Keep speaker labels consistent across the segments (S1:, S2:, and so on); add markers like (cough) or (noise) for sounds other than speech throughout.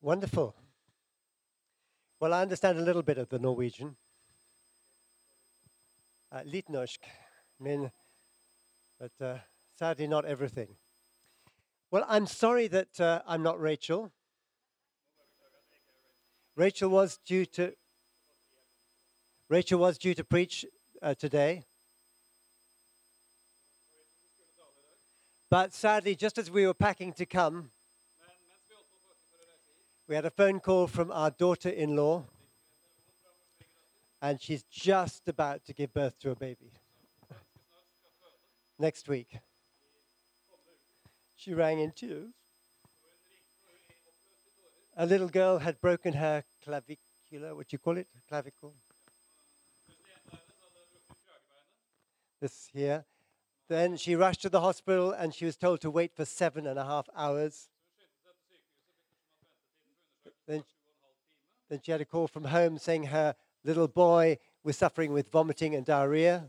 S1: Wonderful. Well, I understand a little bit of the Norwegian. Uh, litt norsk, men, but uh, sadly not everything. Well, I'm sorry that uh, I'm not Rachel. Rachel was due to Rachel was due to preach uh, today. But sadly, just as we were packing to come, we had a phone call from our daughter in law, and she's just about to give birth to a baby next week. She rang in tears. A little girl had broken her clavicula, what do you call it? Clavicle. This here. Then she rushed to the hospital and she was told to wait for seven and a half hours. Then, then she had a call from home saying her little boy was suffering with vomiting and diarrhea.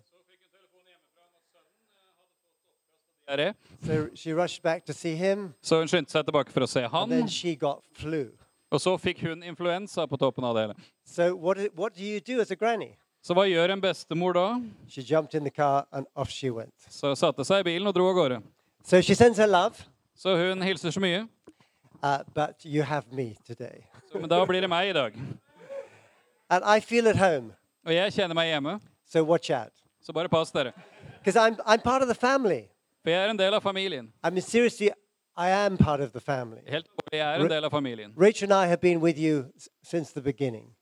S2: diaré.
S1: So she rushed back to see him,
S2: Så hun skyndte seg tilbake for å se
S1: and
S2: han.
S1: then she got flu.
S2: Og så fikk hun influensa på toppen av det hele.
S1: So what, i- what do you do as a granny?
S2: Så hva gjør en bestemor da?
S1: She jumped in the car and off she went.
S2: Så satte seg i bilen og dro av gårde.
S1: So she sends her love,
S2: Så hun hilser så mye.
S1: uh, but you have me today.
S2: Så, men da blir det meg i dag.
S1: And I feel at home,
S2: Og jeg kjenner meg hjemme,
S1: so watch out.
S2: så bare pass dere.
S1: Because I'm, I'm part of the family.
S2: For jeg er en del av familien.
S1: I mean, seriously, I am part of the family.
S2: Helt alvorlig, jeg er en del av familien.
S1: Rachel and I have been with you s- since the beginning.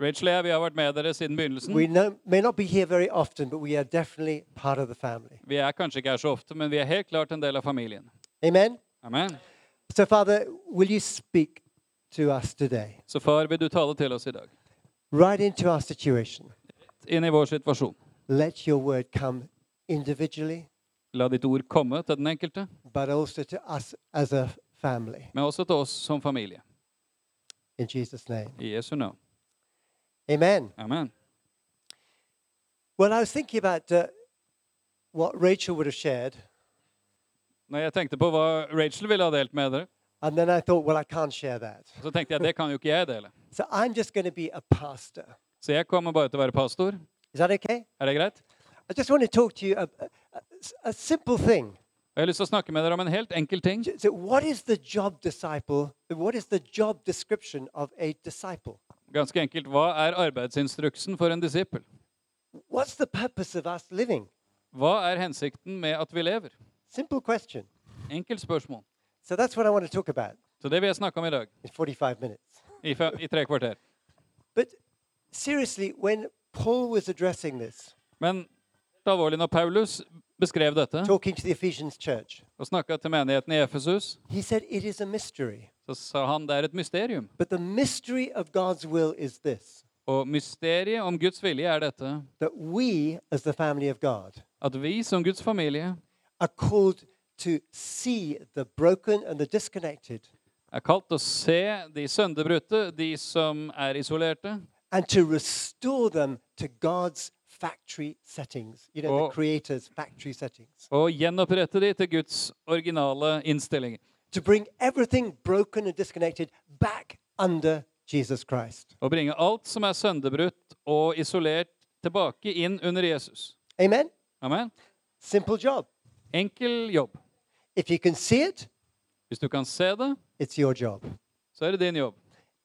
S2: Rachel og jeg vi har vært med dere siden begynnelsen.
S1: We know, may not be here very often, but we are definitely part of the family.
S2: Vi er kanskje ikke her så ofte, men vi er helt klart en del av familien.
S1: Amen?
S2: Amen.
S1: So, Father, will you speak to us today,
S2: Så far, vil du tale til oss i dag?
S1: right into our situation?
S2: Inn i vår situasjon.
S1: Let your word come individually,
S2: La ditt ord komme til den enkelte,
S1: but also to us as a family.
S2: men også til oss som familie.
S1: In Jesus' name.
S2: I Jesu navn.
S1: Amen.
S2: Amen.
S1: Well, I was thinking about uh, what Rachel would have shared,
S2: Når jeg tenkte på hva Rachel ville ha delt med dere,
S1: and then I thought, well, I can't share that.
S2: så tenkte jeg det kan jo ikke jeg dele.
S1: So I'm just going to be a pastor.
S2: Så jeg kommer bare til å være pastor.
S1: Is that okay?
S2: Er det greit?
S1: I just want to talk to you a, a, a simple thing.
S2: Og jeg har lyst til å snakke med dere om en helt enkel ting.
S1: So, what is the job disciple? What is the job description of a disciple?
S2: Ganske enkelt. Hva er arbeidsinstruksen for en disippel?
S1: What's the purpose of us living?
S2: Hva er hensikten med at vi lever?
S1: Simple question.
S2: Enkelt spørsmål.
S1: So that's what I want to talk about
S2: Så det vil jeg snakke om i dag.
S1: in 45 minutes.
S2: I, fe- i tre kvarter.
S1: But seriously, when Paul was addressing this,
S2: Men det er alvorlig når Paulus beskrev dette
S1: talking to the Ephesians church,
S2: og snakka til menigheten i Efesus,
S1: he said it is a mystery.
S2: så sa han det er et mysterium.
S1: But the mystery of God's will is this
S2: Og mysteriet om Guds vilje er dette
S1: that we, as the family of God,
S2: at vi som Guds familie
S1: are called to see the broken and the disconnected
S2: er kalt å se de sønderbrutte, de som er isolerte,
S1: and to restore them to God's factory settings, you know,
S2: Oh.
S1: the Creator's factory settings,
S2: og gjenopprette de til Guds originale innstillinger.
S1: to bring everything broken and disconnected back under Jesus Christ.
S2: Og bringe alt som er sønderbrutt og isolert, tilbake inn under Jesus.
S1: Amen?
S2: Amen.
S1: Simple job.
S2: Enkel jobb.
S1: If you can see it,
S2: Hvis du kan se det,
S1: It's your job.
S2: så er det din jobb.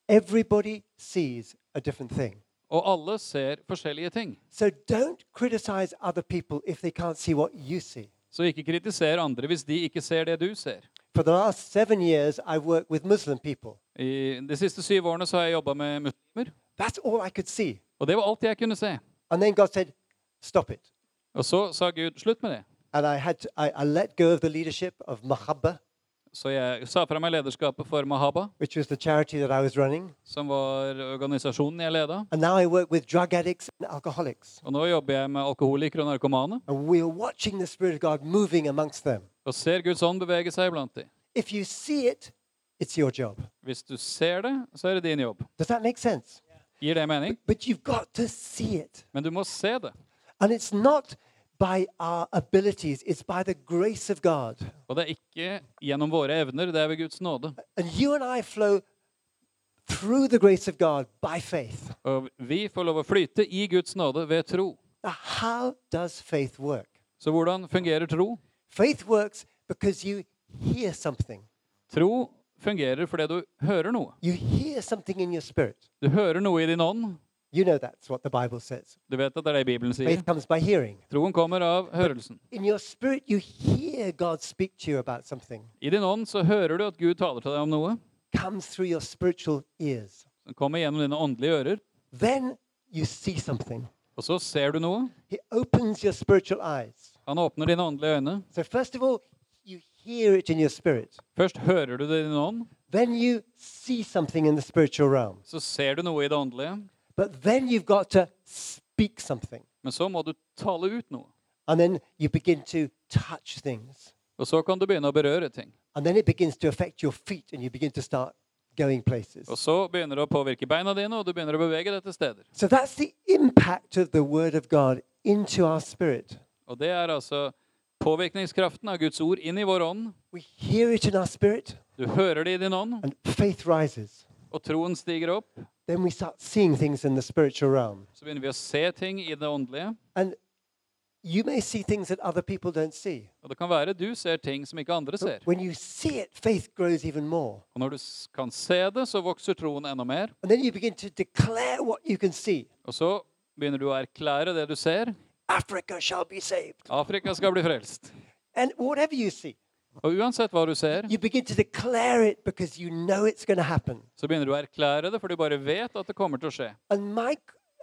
S1: Everybody sees a different thing.
S2: Og alle ser forskjellige ting.
S1: So don't criticize other people if they can't see what you see.
S2: Så ikke kritiser andre hvis de ikke ser det du ser.
S1: For the last seven years, I've worked with Muslim people.
S2: I de siste syv årene så har jeg jobba med muslimer,
S1: That's all I could see.
S2: og det var alt jeg kunne se.
S1: And then God said, stop it.
S2: Og så sa Gud slutt med det.
S1: And I had to, I, I let go of the leadership of Mahabba,
S2: Så jeg sa fra meg lederskapet for Mahaba,
S1: which was the charity that I was running.
S2: som var organisasjonen jeg leda.
S1: And now I work with drug addicts and alcoholics.
S2: Og nå jobber jeg med alkoholikere og narkomane
S1: And we are watching the Spirit of God moving amongst them.
S2: og ser Guds ånd bevege seg iblant dem.
S1: If you see it, it's your job.
S2: Hvis du ser det, så er det din jobb.
S1: Does that make sense?
S2: Gir det mening?
S1: But you've got to see it.
S2: Men du må se det.
S1: And it's not by our abilities, it's by the grace of God.
S2: Og det er ikke gjennom våre evner, det er ved Guds nåde.
S1: And you and I flow through the grace of God by faith.
S2: Og vi får lov å flyte i Guds nåde ved tro.
S1: Now, how does faith work?
S2: Så hvordan fungerer tro?
S1: Faith works because you hear something.
S2: Tro fungerer fordi du hører noe.
S1: You hear something in your spirit.
S2: Du hører noe i din ånd.
S1: You know that's what the Bible says.
S2: Du vet at det er det Bibelen sier.
S1: Faith comes by hearing.
S2: Troen kommer av hørelsen.
S1: In your spirit, you hear God speak to you about something.
S2: I din ånd så hører du at Gud taler til deg om noe.
S1: Comes through your spiritual ears.
S2: som kommer gjennom dine åndelige ører.
S1: Then you see something.
S2: Og så ser du noe.
S1: He opens your spiritual eyes.
S2: Han åpner dine åndelige øyne.
S1: So, first of all, you hear it in your spirit.
S2: Først hører du det i din ånd,
S1: Then you see something in the spiritual realm.
S2: så ser du noe i det åndelige.
S1: But then you've got to speak something.
S2: Men så må du tale ut noe.
S1: And then you begin to touch things.
S2: Og så kan du begynne å berøre ting.
S1: And then it begins to affect your feet and you begin to start going places.
S2: Og så begynner det å påvirke beina dine, og du begynner å bevege deg til steder.
S1: So that's the impact of the Word of God into our spirit.
S2: Og det er altså påvirkningskraften av Guds ord inn i vår ånd.
S1: We hear it in our spirit
S2: Du hører det i din ånd,
S1: and faith rises.
S2: og troen stiger opp.
S1: Then we start seeing things in the spiritual realm.
S2: Så begynner vi å se ting i det åndelige.
S1: And you may see things that other people don't see.
S2: Og det kan være du ser ting som ikke andre ser.
S1: But when you see it, faith grows even more.
S2: Og når du s- kan se det, så vokser troen enda mer.
S1: And then you begin to declare what you can see.
S2: Og så begynner du å erklære det du ser.
S1: Africa shall be saved.
S2: Afrika skal bli frelst.
S1: And whatever you see,
S2: Og uansett hva du ser,
S1: you begin to declare it because you know it's going to happen.
S2: så begynner du å erklære det, for du bare vet at det kommer til å skje.
S1: And my,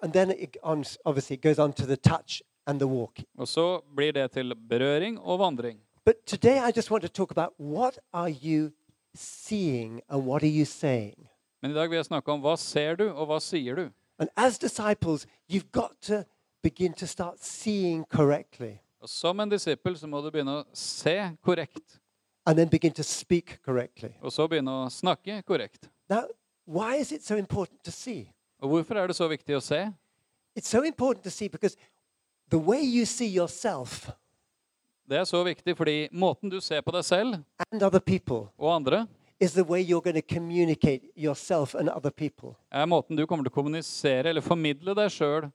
S1: and then it on, obviously it goes on to the touch and the walk.
S2: Og så blir det til berøring og vandring.
S1: But today I just want to talk about what are you seeing and what are you saying?
S2: Men i dag vil jeg snakke om hva ser du, og hva sier du?
S1: And as disciples, you've got to begin to start seeing correctly
S2: Og som en disippel så må du begynne å se korrekt,
S1: and then begin to speak correctly.
S2: og så begynne å snakke korrekt.
S1: Now, why is it so important to see?
S2: Og hvorfor er det så viktig å se?
S1: It's so important to see because the way you see yourself
S2: Det er så viktig fordi måten du ser på deg selv
S1: and other people
S2: og andre,
S1: is the way you're going to communicate yourself and other people.
S2: er måten du kommer til å kommunisere eller formidle deg sjøl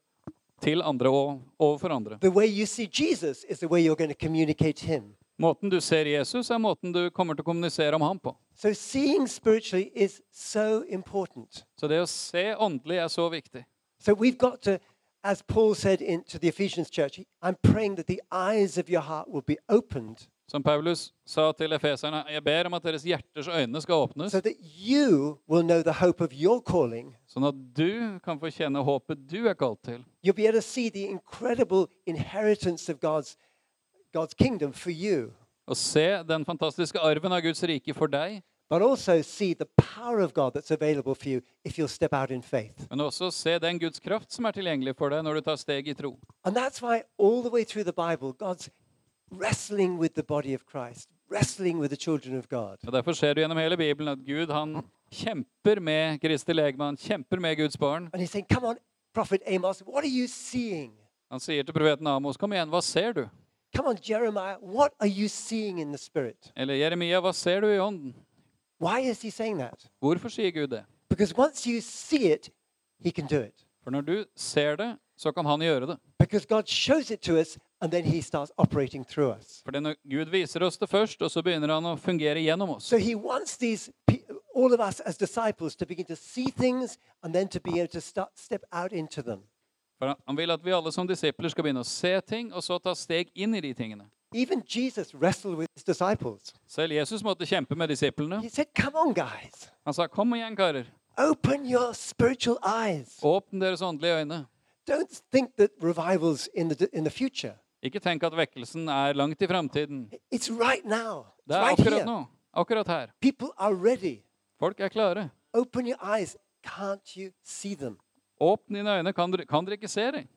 S2: til andre og overfor andre.
S1: The way you see Jesus is the way you're going to communicate him.
S2: Måten du ser Jesus, er måten du kommer til å kommunisere om ham på.
S1: So seeing spiritually is so important.
S2: Så det å se åndelig er så viktig.
S1: So we've got to, as Paul said in, to the Ephesians church, I'm praying that the eyes of your heart will be opened
S2: Som Paulus sa til efeserne, jeg ber om at deres hjerters øyne skal åpnes,
S1: so that you will know the hope of your calling.
S2: sånn at du kan få kjenne håpet du er kalt til.
S1: You'll be able to see the incredible inheritance of God's, God's kingdom for you,
S2: Og se den fantastiske arven av Guds rike for deg,
S1: but also see the power of God that's available for you if you'll step out in faith.
S2: men også se den Guds kraft som er tilgjengelig for deg når du tar steg i tro.
S1: And that's why all the way through the Bible, God's wrestling with the body of Christ, wrestling with the children of God.
S2: Og Derfor ser du gjennom hele Bibelen at Gud han kjemper med Kristi legeme, han kjemper med Guds barn.
S1: And he's saying, Come on, Prophet Amos, what are you seeing?
S2: Han sier til profeten Amos, kom igjen, hva ser du?
S1: Come on, Jeremiah, what are you seeing in the Spirit?
S2: Eller Jeremia, hva ser du i ånden?
S1: Why is he saying that?
S2: Hvorfor sier Gud det?
S1: Because once you see it, he can do it.
S2: For når du ser det, så kan han gjøre det.
S1: Because God shows it to us and then he starts operating through us.
S2: For denne- Gud viser oss det først, og så begynner han å fungere gjennom oss.
S1: So he wants these pe- all of us as disciples to begin to see things and then to be able to start step out into them.
S2: For han- Han vil at vi alle som disipler skal begynne å se ting, og så ta steg inn i de tingene.
S1: Even Jesus wrestled with his disciples.
S2: Selv Jesus måtte kjempe med
S1: He
S2: disiplene.
S1: said, "Come on, guys,
S2: Han sa, 'Kom igjen, karer.
S1: open your spiritual eyes.
S2: Åpne deres åndelige øyne.'
S1: Don't think that revivals in the in the future.
S2: Ikke tenk at vekkelsen er langt i framtiden.
S1: It's right now. It's
S2: Det er
S1: right
S2: akkurat
S1: here.
S2: nå. Akkurat her.
S1: People are ready.
S2: Folk er klare.
S1: Open your eyes. Can't you see them?
S2: Åpne dine øyne. Kan dere, kan dere ikke se dem?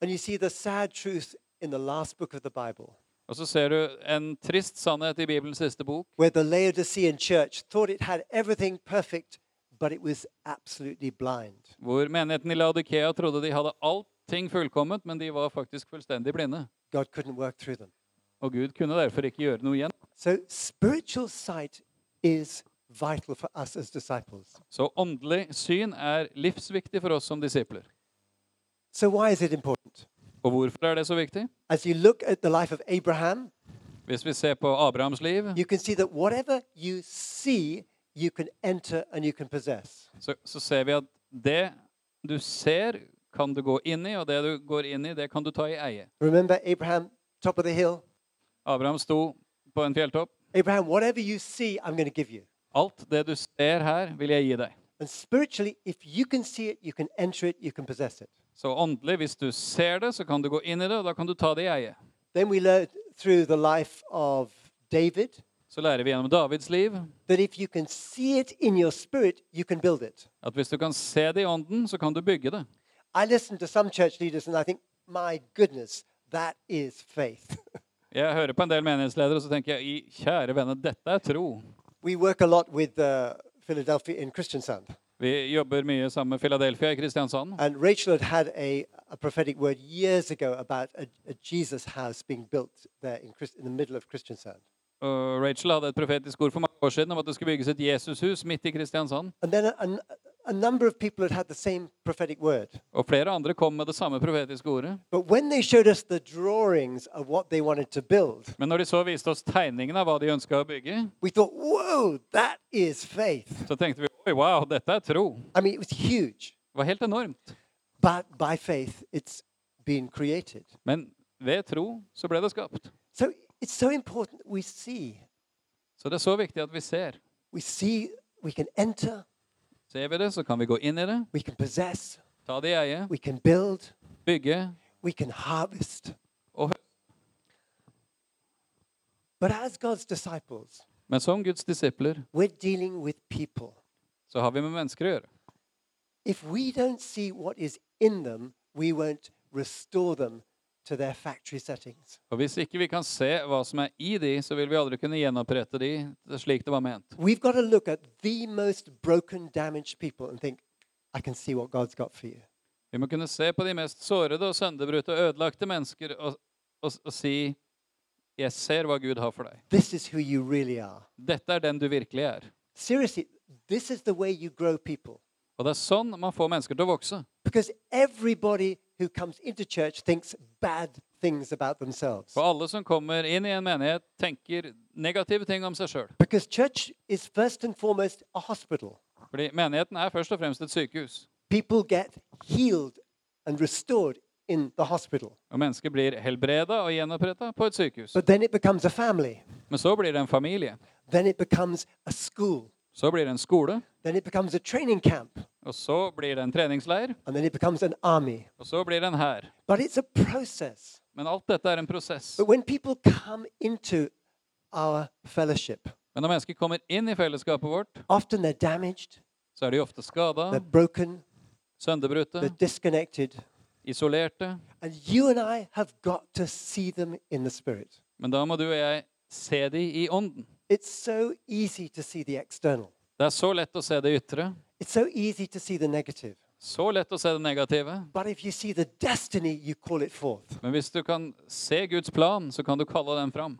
S1: And you see the sad truth in the last book of the Bible,
S2: Og så ser du en trist sannhet i Bibelens siste bok,
S1: where the Laodicean church thought it had everything perfect, but it was absolutely blind.
S2: hvor menigheten i Laodikea trodde de hadde allting fullkomment, men de var faktisk fullstendig blinde.
S1: God couldn't work through them.
S2: Og Gud kunne derfor ikke gjøre noe igjen.
S1: So, spiritual sight is vital for us as disciples.
S2: Så åndelig syn er livsviktig for oss som disipler.
S1: So, why is it important?
S2: Og hvorfor er det så viktig?
S1: As you look at the life of Abraham,
S2: Hvis vi ser på Abrahams liv,
S1: you can see that whatever you see, you can enter and you can possess.
S2: så, så ser vi at det du ser, kan du gå inn i, og det du går inn i, det kan du ta i eie.
S1: Remember Abraham, top of the hill?
S2: Abraham sto på en fjelltopp.
S1: Abraham, whatever you see, I'm going to give you.
S2: Alt det du ser her, vil jeg gi deg.
S1: And spiritually, if you can see it, you can enter it, you can possess it.
S2: Så åndelig, hvis du ser det, så kan du gå inn i det, og da kan du ta det i eie.
S1: Then we learn through the life of David
S2: Så lærer vi gjennom Davids liv
S1: that if you can see it in your spirit, you can build it.
S2: at hvis du kan se det i ånden, så kan du bygge det.
S1: I listen to some church leaders and I think, my goodness, that is faith. (laughs)
S2: Jeg hører på en del menighetsledere, og så tenker jeg, "I- kjære venner, dette er tro.
S1: we work a lot with uh, Philadelphia in Christian Sound.
S2: Vi jobber mye sammen med Philadelphia i Kristiansand.
S1: And Rachel had had a, a prophetic word years ago about a, a Jesus house being built there in, Chris, in the middle of Christian Sound.
S2: Og Rachel hadde et profetisk ord for mange år siden om at det skulle bygges et Jesushus midt i Kristiansand.
S1: And then a, a, a number of people had had the same prophetic word.
S2: Og flere andre kom med det samme profetiske ordet.
S1: But when they showed us the drawings of what they wanted to build,
S2: Men når de så viste oss tegningen av hva de ønska å bygge,
S1: we thought, whoa, that is faith.
S2: så tenkte vi oi, wow, dette er tro.
S1: I mean, it was huge.
S2: Det var helt enormt.
S1: But by faith, it's been created.
S2: Men ved tro så ble det skapt.
S1: So it's so important that we see.
S2: Så det er så viktig at vi ser.
S1: We see, we can enter,
S2: Ser vi det, så kan vi gå inn i det,
S1: we can possess,
S2: ta det i eie,
S1: we can build,
S2: bygge.
S1: we can harvest.
S2: Og hø-
S1: But as God's disciples,
S2: Men som Guds disipler
S1: we're dealing with people.
S2: så har vi med mennesker å gjøre.
S1: If we don't see what is in them, we won't restore them to their factory settings.
S2: Og hvis ikke vi kan se hva som er i de, så vil vi aldri kunne gjenopprette de slik det var ment.
S1: We've got to look at the most broken, damaged people and think, I can see what God's got for you.
S2: Vi må kunne se på de mest sårede og sønderbrutte og ødelagte mennesker og, og, og si jeg ser hva Gud har for deg.
S1: This is who you really are.
S2: Dette er den du virkelig er.
S1: Seriously, this is the way you grow people.
S2: Og det er sånn man får mennesker til å vokse.
S1: Because everybody who comes into church thinks bad things about themselves.
S2: For alle som kommer inn i en menighet, tenker negative ting om seg sjøl.
S1: Because church is first and foremost a hospital.
S2: Fordi menigheten er først og fremst et sykehus.
S1: People get healed and restored in the hospital.
S2: Og mennesker blir helbreda og gjenoppretta på et sykehus.
S1: But then it becomes a family.
S2: Men så blir det en familie.
S1: Then it becomes a school.
S2: Så blir det en skole.
S1: Then it becomes a training camp.
S2: Og så blir det en treningsleir.
S1: And then it becomes an army.
S2: Og så blir det en hær.
S1: But it's a process.
S2: Men alt dette er en prosess.
S1: But when people come into our fellowship,
S2: Men når mennesker kommer inn i fellesskapet vårt,
S1: often they're damaged,
S2: så er de ofte skada,
S1: they're broken, they're
S2: sønderbrutte,
S1: disconnected.
S2: isolerte.
S1: And you and I have got to see them in the Spirit.
S2: Men da må du og jeg se de i ånden.
S1: It's so easy to see the external,
S2: Det er så lett å se det ytre,
S1: it's so easy to see the negative.
S2: så lett å se det negative.
S1: But if you see the destiny, you call it forth.
S2: Men hvis du kan se Guds plan, så kan du kalle den fram.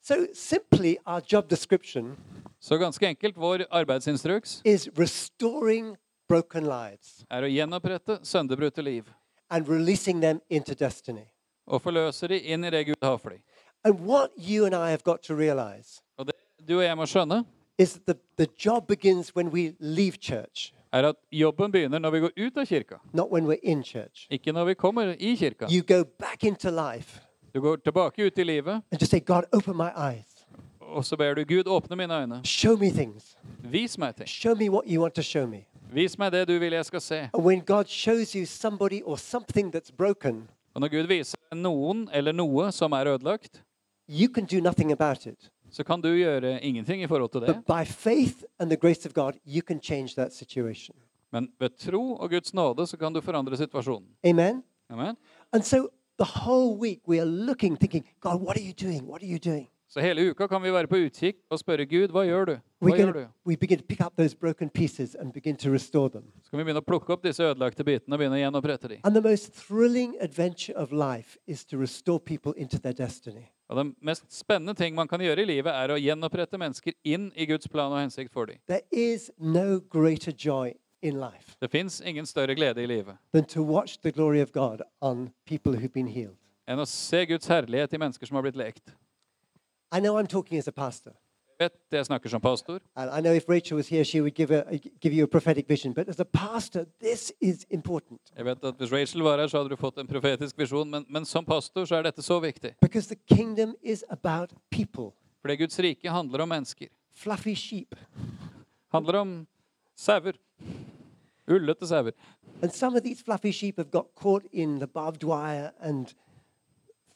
S1: So simply, our job description
S2: Så ganske enkelt, vår arbeidsinstruks
S1: is restoring broken lives
S2: er å gjenopprette sønderbrutte liv
S1: and releasing them into destiny.
S2: og forløser de inn i det Gud har for dem.
S1: And what you and I have got to realize
S2: Og det du og jeg må skjønne,
S1: is that the, the job begins when we leave church,
S2: er at jobben begynner når vi går ut av kirka,
S1: not when we're in church.
S2: ikke når vi kommer i kirka.
S1: You go back into life
S2: Du går tilbake ut i livet,
S1: and just say, God, open my eyes.
S2: og så ber du Gud åpne mine øyne.
S1: Show me things.
S2: Vis meg ting.
S1: Show me what you want to show me.
S2: Vis meg det du vil jeg skal se.
S1: And when God shows you somebody or something that's broken,
S2: Og når Gud viser deg noen eller noe som er ødelagt,
S1: you can do nothing about it.
S2: så kan du gjøre ingenting i forhold til det.
S1: But by faith and the grace of God, you can change that situation.
S2: Men ved tro og Guds nåde så kan du forandre situasjonen.
S1: Amen?
S2: Amen?
S1: And so the whole week we are looking, thinking, God, what are you doing? What are you doing?
S2: Så hele uka kan vi være på utkikk og spørre Gud, hva gjør du?
S1: We're
S2: Hva gjør du?
S1: gonna, we begin to pick up those broken pieces and begin to restore them.
S2: Så kan vi begynne å plukke opp disse ødelagte bitene og begynne å gjenopprette de.
S1: And the most thrilling adventure of life is to restore people into their destiny.
S2: Og det mest spennende ting man kan gjøre i livet, er å gjenopprette mennesker inn i Guds plan og hensikt for dem.
S1: There is no greater joy in life
S2: Det fins ingen større glede i livet
S1: than to watch the glory of God on people who've been healed.
S2: enn å se Guds herlighet i mennesker som har blitt lekt.
S1: I know I'm talking as a pastor.
S2: Jeg vet jeg snakker som pastor,
S1: And I know if Rachel was here, she would give, a, give you a prophetic vision. But as a pastor, this is important
S2: Jeg vet at Hvis Rachel var her, så hadde du fått en profetisk visjon, men, men som pastor så er dette så viktig.
S1: because the kingdom is about people,
S2: Fordi Guds rike handler om mennesker.
S1: fluffy sheep.
S2: Handler om sauer. Ullete sauer.
S1: And some of these fluffy sheep have got caught in the barbed wire and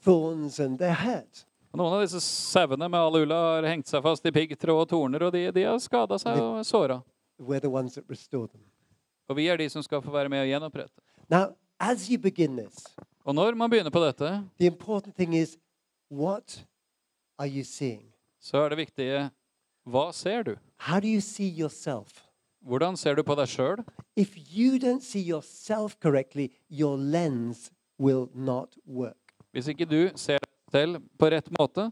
S1: thorns, and they're hurt.
S2: Og Noen av disse sauene med all ulla har hengt seg fast i piggtråd og torner, og de, de har skada seg og er såra.
S1: We're the ones that restore them.
S2: Og vi er de som skal få være med og gjenopprette.
S1: Now, as you begin this,
S2: Og når man begynner på dette,
S1: the important thing is what are you seeing?
S2: så er det viktige hva ser du?
S1: How do you see yourself?
S2: Hvordan ser du på deg sjøl?
S1: If you don't see yourself correctly, your lens will not work.
S2: Hvis ikke du ser deg selv på rett måte,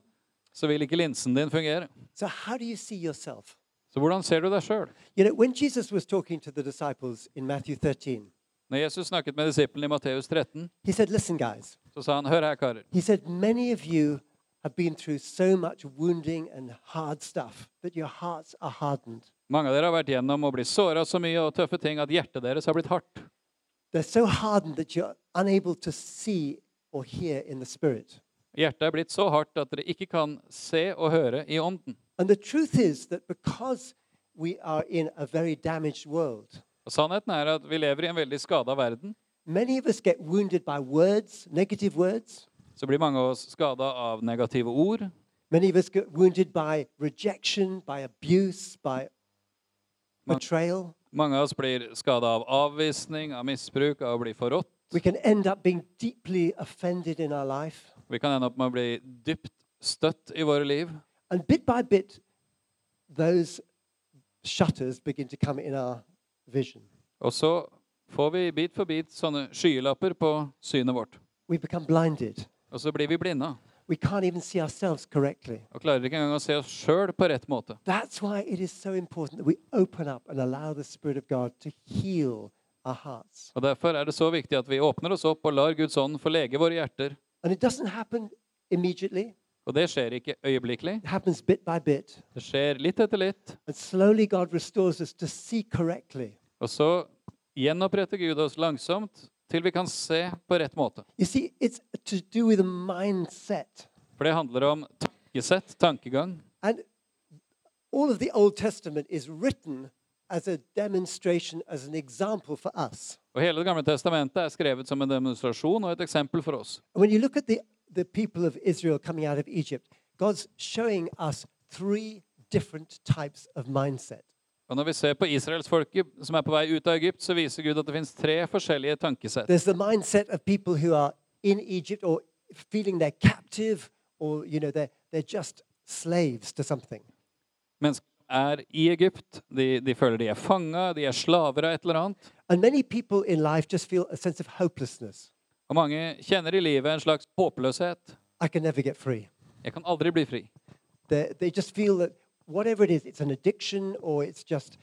S2: så vil ikke linsen din fungere.
S1: So, how do you see yourself?
S2: Så hvordan ser du deg sjøl?
S1: You know, when Jesus was talking to the disciples in Matthew 13,
S2: Når Jesus snakket med disiplene i Matteus 13,
S1: he said, Listen, guys,
S2: så sa han, hør her, karer.
S1: he said, many of you have been through so much wounding and hard stuff that your hearts are hardened.
S2: Mange av dere har vært gjennom å bli såra så mye og tøffe ting at hjertet deres har blitt hardt.
S1: They're so hardened that you're unable to see or hear in the Spirit.
S2: Hjertet er blitt så hardt at dere ikke kan se og høre i ånden.
S1: And the truth is that because we are in a very damaged world,
S2: Og sannheten er at vi lever i en veldig skada verden.
S1: many of us get wounded by words, negative words.
S2: Så blir mange av oss skada av negative ord.
S1: Many of us get wounded by rejection, by abuse, by betrayal.
S2: Mange av oss blir skada av avvisning, av misbruk, av å bli forrådt.
S1: We can end up being deeply offended in our life.
S2: Vi kan ende opp med å bli dypt støtt i våre liv.
S1: And bit by bit, those shutters begin to come in our vision.
S2: Og så får vi bit for bit sånne skyelapper på synet vårt.
S1: We become blinded.
S2: Og så blir vi blinda.
S1: We can't even see ourselves correctly.
S2: og klarer ikke engang å se oss sjøl på rett måte.
S1: That's why it is so important that we open up and allow the Spirit of God to heal our hearts.
S2: Og Derfor er det så viktig at vi åpner oss opp og lar Guds ånd få lege våre hjerter.
S1: And it doesn't happen immediately,
S2: Og det skjer ikke øyeblikkelig.
S1: it happens bit by bit.
S2: Det skjer litt etter litt.
S1: And slowly, God restores us to see correctly.
S2: Og så gjenoppretter Gud oss langsomt til vi kan se på rett måte.
S1: You see, it's to do with a mindset.
S2: For det handler om tankesett, tankegang.
S1: And all of the Old Testament is written as a demonstration, as an example for us.
S2: Og hele Det gamle testamentet er skrevet som en demonstrasjon og et eksempel for oss.
S1: And when you look at the, the people of Israel coming out of Egypt, God's showing us three different types of mindset.
S2: Og Når vi ser på israelsfolket som er på vei ut av Egypt, så viser Gud at det fins tre forskjellige tankesett.
S1: There's the mindset of people who are in Egypt or feeling they're captive or, you know, they're, they're just slaves to something.
S2: Mennesker er i Egypt. De, de føler de er fanga, de er slaver av et eller annet.
S1: And many people in life just feel a sense of hopelessness.
S2: Og mange kjenner i livet en slags håpløshet.
S1: I can never get free.
S2: Jeg kan aldri bli fri.
S1: They, they just feel that whatever it is, it's an addiction or it's just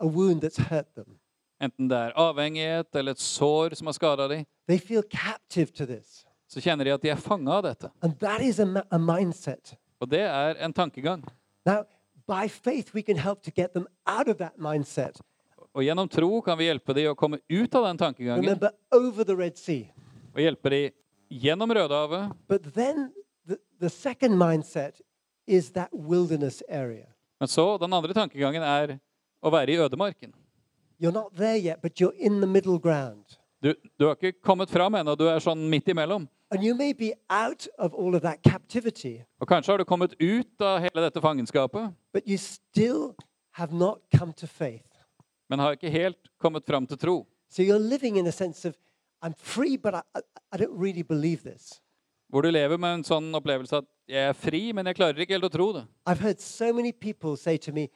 S1: a wound that's hurt them.
S2: Enten det er avhengighet eller et sår som har skada dem.
S1: They feel captive to this.
S2: så kjenner de at de er fanga av dette.
S1: And that is a, ma- a mindset.
S2: Og det er en tankegang.
S1: Now, by faith, we can help to get them out of that mindset.
S2: Og gjennom tro kan vi hjelpe de å komme ut av den tankegangen
S1: Remember, over the Red Sea.
S2: og hjelpe de gjennom Rødehavet.
S1: But then the, the second mindset is that wilderness area.
S2: Men så, den andre tankegangen er å være i ødemarken.
S1: You're not there yet, but you're in the middle ground.
S2: Du, du har ikke kommet fram ennå, du er sånn midt imellom.
S1: And you may be out of all of that captivity,
S2: Og kanskje har du kommet ut av hele dette fangenskapet,
S1: but you still have not come to faith.
S2: men har ikke helt kommet fram til tro.
S1: So you're living in a sense of, I'm free, but I, I, I don't really believe this.
S2: Hvor du lever med en sånn opplevelse at 'jeg er fri, men jeg klarer ikke helt å tro det'.
S1: I've heard so many people say to me,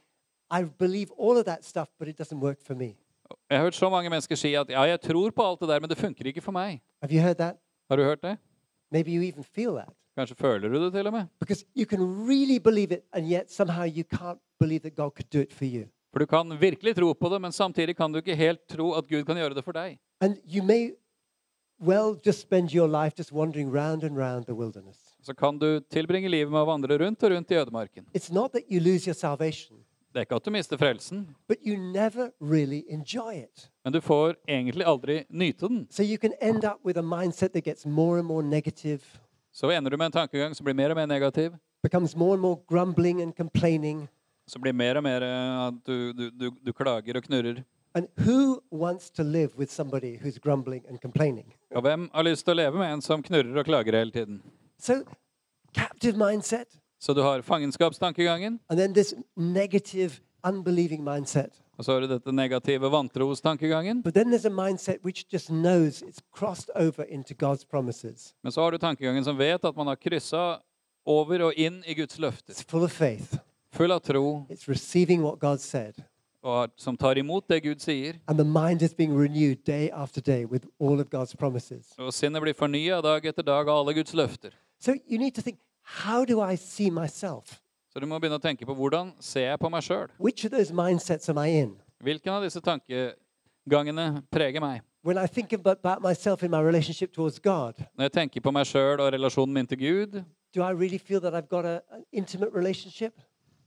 S1: I believe all of that stuff, but it doesn't work for me.
S2: Jeg har hørt så mange mennesker si at 'ja, jeg tror på alt det der, men det funker ikke for meg'.
S1: Have you heard that?
S2: Har du hørt det?
S1: Maybe you even feel that.
S2: Kanskje føler du det til og med.
S1: Because you can really believe it, and yet somehow you can't believe that God could do it for you.
S2: For du kan virkelig tro på det, men samtidig kan du ikke helt tro at Gud kan gjøre det for deg.
S1: And you may well just spend your life just wandering round and round the wilderness.
S2: Så kan du tilbringe livet med å vandre rundt og rundt i ødemarken.
S1: It's not that you lose your salvation,
S2: Det er ikke at du mister frelsen,
S1: but you never really enjoy it.
S2: men du får egentlig aldri nyte den.
S1: So you can end up with a mindset that gets more and more negative,
S2: Så ender du med en tankegang som blir mer og mer negativ,
S1: becomes more and more grumbling and complaining.
S2: som blir mer og mer eh, at du, du, du, du klager og knurrer.
S1: And who wants to live with somebody who's grumbling and complaining?
S2: Og hvem har lyst til å leve med en som knurrer og klager hele tiden?
S1: So, captive mindset,
S2: Så du har fangenskapstankegangen,
S1: and then this negative, unbelieving mindset.
S2: og så har du dette negative vantrostankegangen.
S1: But then there's a mindset which just knows it's crossed over into God's promises.
S2: Men så har du tankegangen som vet at man har kryssa over og inn i Guds løfter.
S1: It's full of faith,
S2: Full av tro,
S1: it's receiving what God said.
S2: og har- som tar imot det Gud sier.
S1: And the mind is being renewed day after day with all of God's promises.
S2: Og sinnet blir fornya dag etter dag av alle Guds løfter.
S1: So you need to think how do I see myself?
S2: Så du må begynne å tenke på hvordan ser jeg på meg sjøl?
S1: Which of those mindsets am I in?
S2: Hvilken av disse tankegangene preger meg?
S1: When I think ab- about myself in my relationship towards God,
S2: Når jeg tenker på meg sjøl og relasjonen min til Gud,
S1: do I really feel that I've got a, an intimate relationship?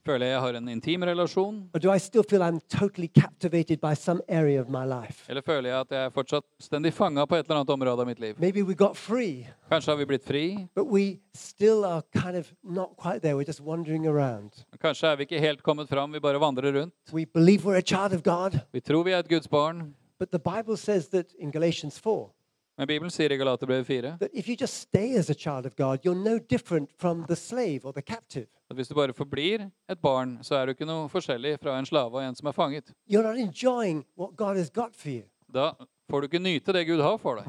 S2: føler jeg jeg har en intim relasjon?
S1: Or do I still feel I'm totally captivated by some area of my life?
S2: Eller føler jeg at jeg er fortsatt stendig fanga på et eller annet område av mitt liv?
S1: Maybe we got free,
S2: Kanskje har vi blitt fri?
S1: but we still are kind of not quite there. We're just wandering around.
S2: Kanskje er vi ikke helt kommet fram, vi bare vandrer rundt?
S1: We believe we're a child of God,
S2: Vi tror vi er et Guds barn,
S1: but the Bible says that in Galatians 4,
S2: men Bibelen sier i Galaterbrevet 4
S1: that if you just stay as a child of God, you're no different from the slave or the captive.
S2: at hvis du bare forblir et barn, så er du ikke noe forskjellig fra en slave og en som er fanget.
S1: You're not enjoying what God has got for you.
S2: Da får du ikke nyte det Gud har for deg.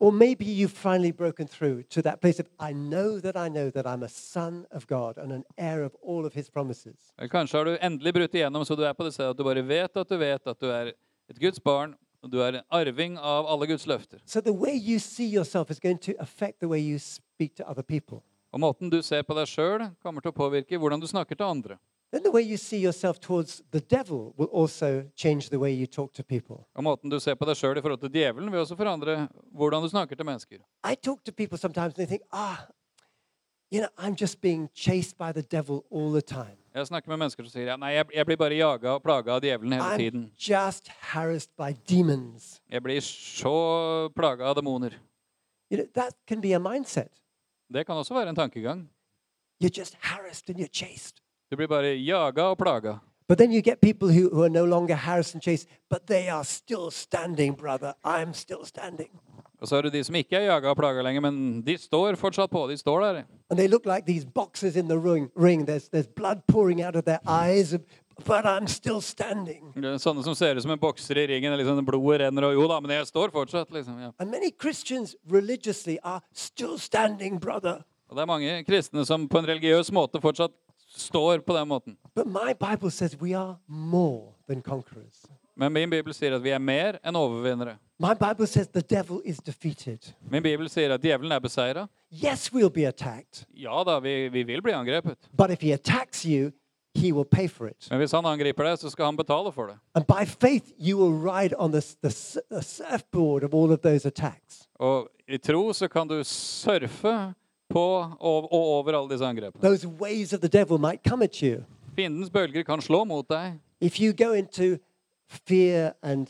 S1: Or maybe you've finally broken through to that place of, I know that I know that I'm a son of God and an heir of all of his promises.
S2: Eller kanskje har du endelig brutt igjennom, så du er på det stedet at du bare vet at du vet at du er et Guds barn, og du er en arving av alle Guds løfter.
S1: So the way you see yourself is going to affect the way you speak to other people.
S2: Og måten du ser på deg sjøl, kommer til å påvirke hvordan du snakker til andre.
S1: Then the way you see yourself towards the devil will also change the way you talk to people.
S2: Og måten du ser på deg sjøl i forhold til djevelen, vil også forandre hvordan du snakker til mennesker.
S1: I talk to people sometimes and they think, ah, you know, I'm just being chased by the devil all the time.
S2: Jeg snakker med mennesker som sier ja, nei, jeg, jeg blir bare jaga og plaga av djevelen hele tiden.
S1: I'm just harassed by demons.
S2: Jeg blir så plaga av demoner.
S1: You know, that can be a mindset.
S2: Det kan også være en tankegang.
S1: You're just harassed and you're chased.
S2: Du blir bare jaga og plaga.
S1: But then you get people who, who are no longer harassed and chased, but they are still standing, brother. I'm still standing.
S2: Og så har du de som ikke er jaga og plaga lenger, men de står fortsatt på. De står der.
S1: And they look like these boxers in the ring. ring. There's, there's blood pouring out of their eyes, but I'm still standing.
S2: Det er Sånne som ser ut som en bokser i ringen. og Liksom, blodet renner og Jo da, men jeg står fortsatt, liksom. Ja.
S1: And many Christians religiously are still standing, brother.
S2: Og det er mange kristne som på en religiøs måte fortsatt står på den måten.
S1: But my Bible says we are more than conquerors.
S2: Men min bibel sier at vi er mer enn overvinnere.
S1: My Bible says the devil is defeated.
S2: Min bibel sier at djevelen er beseira.
S1: Yes, we'll be attacked,
S2: Ja da, vi, vi vil bli angrepet.
S1: but if he attacks you, he will pay for it.
S2: Men hvis han angriper deg, så skal han betale for det.
S1: And by faith, you will ride on the, s- the, s- the surfboard of all of those attacks.
S2: Og i tro så kan du surfe på og, og over alle disse angrepene.
S1: Those waves of the devil might come at you.
S2: Fiendens bølger kan slå mot deg.
S1: If you go into fear and